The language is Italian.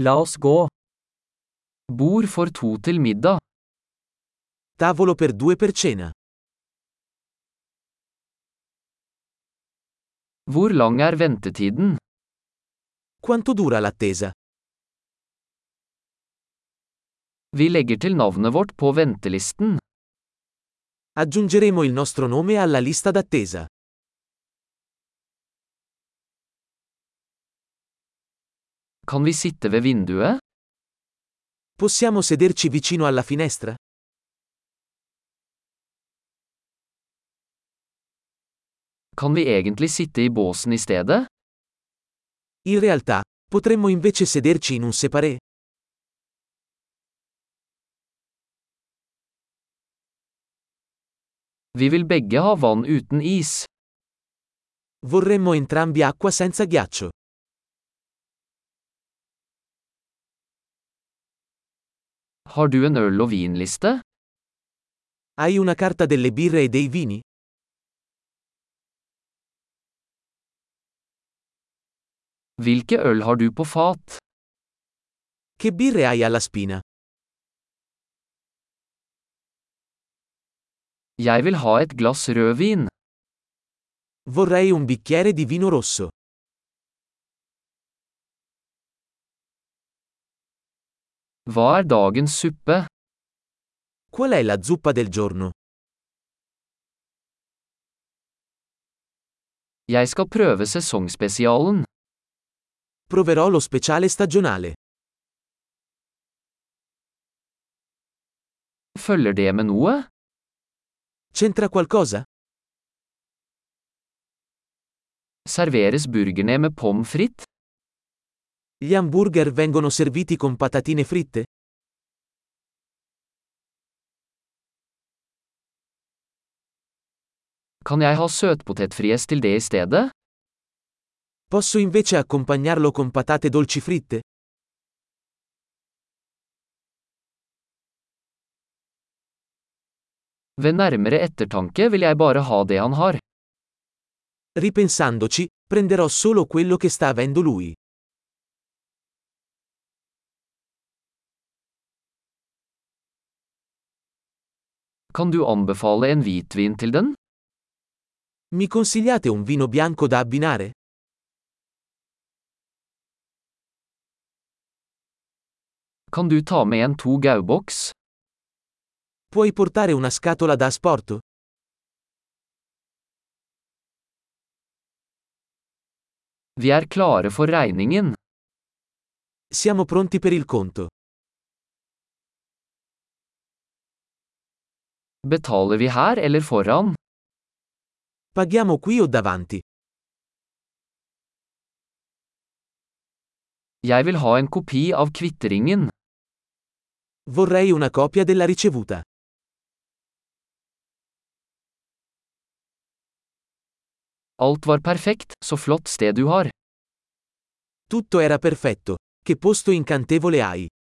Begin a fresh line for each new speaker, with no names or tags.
La oss gå. Bord for to til middag.
Tavolo per due per cena.
Hvor lang er ventetiden?
Quanto dura l'attesa?
Vi legger til navnet vårt på ventelisten.
Aggiungeremo il nostro nome alla lista d'attesa.
Kan vi sitte ved vinduet?
Possiamo sederci vicino alla finestra?
Kan vi egentlig sitte i båsen i stedet?
In realtà, potremmo invece sederci in un separé.
Vi vil begge ha vann uten is.
Vorremmo entrambi acqua senza ghiaccio.
Har du en øl- og vinliste?
Hai una carta delle birre e dei vini?
Hvilke øl har du på fat?
Che birre hai alla spina?
Jeg vil ha et glass rødvin.
Vorrei un bicchiere di vino rosso.
Hva er dagens suppe?
Qual è la zuppa del giorno?
Jeg skal prøve sesongspesialen.
Proverò lo speciale stagionale.
Følger det med noe?
C'entra qualcosa?
Serveres burgerne med pommes frites?
Gli hamburger vengono serviti con patatine fritte?
Kan jeg ha søtpotetfries til det i stedet?
Posso invece accompagnarlo con patate dolci fritte?
Ved nærmere ettertanke vil jeg bare ha det han har.
Ripensandoci, prenderò solo quello che sta avendo lui.
Kan du anbefale en hvitvin til den?
Mi consigliate un vino bianco da abbinare?
Kan du ta med en to gauboks?
Puoi portare una scatola da asporto?
Vi er klare for regningen.
Siamo pronti per il conto.
Betaler vi her eller foran?
Paghiamo qui o davanti?
Jeg vil ha en kopi av kvitteringen.
Vorrei una copia della ricevuta.
Alt var perfekt, så flott sted du har.
Tutto era perfetto. Che posto incantevole hai!